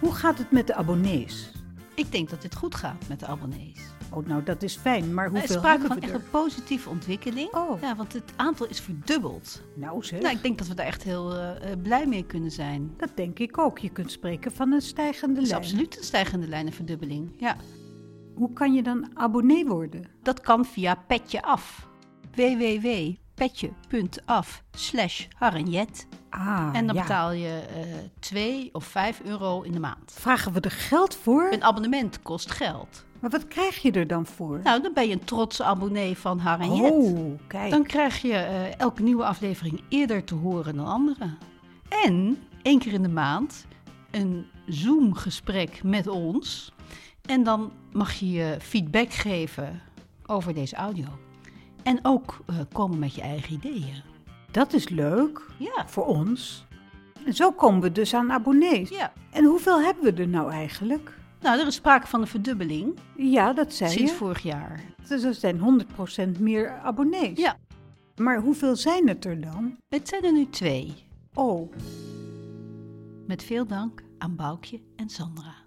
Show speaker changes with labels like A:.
A: Hoe gaat het met de abonnees?
B: Ik denk dat dit goed gaat met de abonnees.
A: Oh, nou dat is fijn, maar
B: Nou, Er is
A: hoeveel
B: sprake
A: hebben
B: van
A: we
B: echt
A: er?
B: een positieve ontwikkeling.
A: Oh.
B: Ja, want het aantal is verdubbeld.
A: Nou zeg,
B: Nou, ik denk dat we daar echt heel eh, eh, blij mee kunnen zijn.
A: dat denk ik ook. Je kunt spreken van een stijgende
B: Het is
A: lijn.
B: absoluut een stijgende lijn en verdubbeling. Ja.
A: Hoe kan je dan abonnee worden?
B: Dat kan via Petje Af. www.petje.af slash harenjet.
A: Ah,
B: En dan
A: ja.
B: betaal je eh 2 of 5 euro in de maand.
A: Vragen we er geld voor?
B: Een abonnement kost geld.
A: Maar wat krijg je er dan voor?
B: Nou, dan ben je een trotse abonnee van Harenjet.
A: oh, kijk.
B: Dan krijg je eh, elke nieuwe aflevering eerder te horen dan anderen. En één keer in de maand een Zoom-gesprek met ons. En dan mag je je feedback geven over deze audio. En ook eh, komen met je eigen ideeën.
A: Dat is leuk
B: Ja.
A: voor ons. En zo komen we dus aan abonnees.
B: ja.
A: En hoeveel hebben we er nou eigenlijk?
B: Nou, er is sprake van een verdubbeling
A: Ja, dat zei
B: sinds
A: je.
B: vorig jaar.
A: Dus er zijn 100% meer abonnees.
B: Ja.
A: Maar hoeveel zijn het er dan?
B: Het zijn er nu twee.
A: Oh,
B: Met veel dank aan Boukje en Sandra.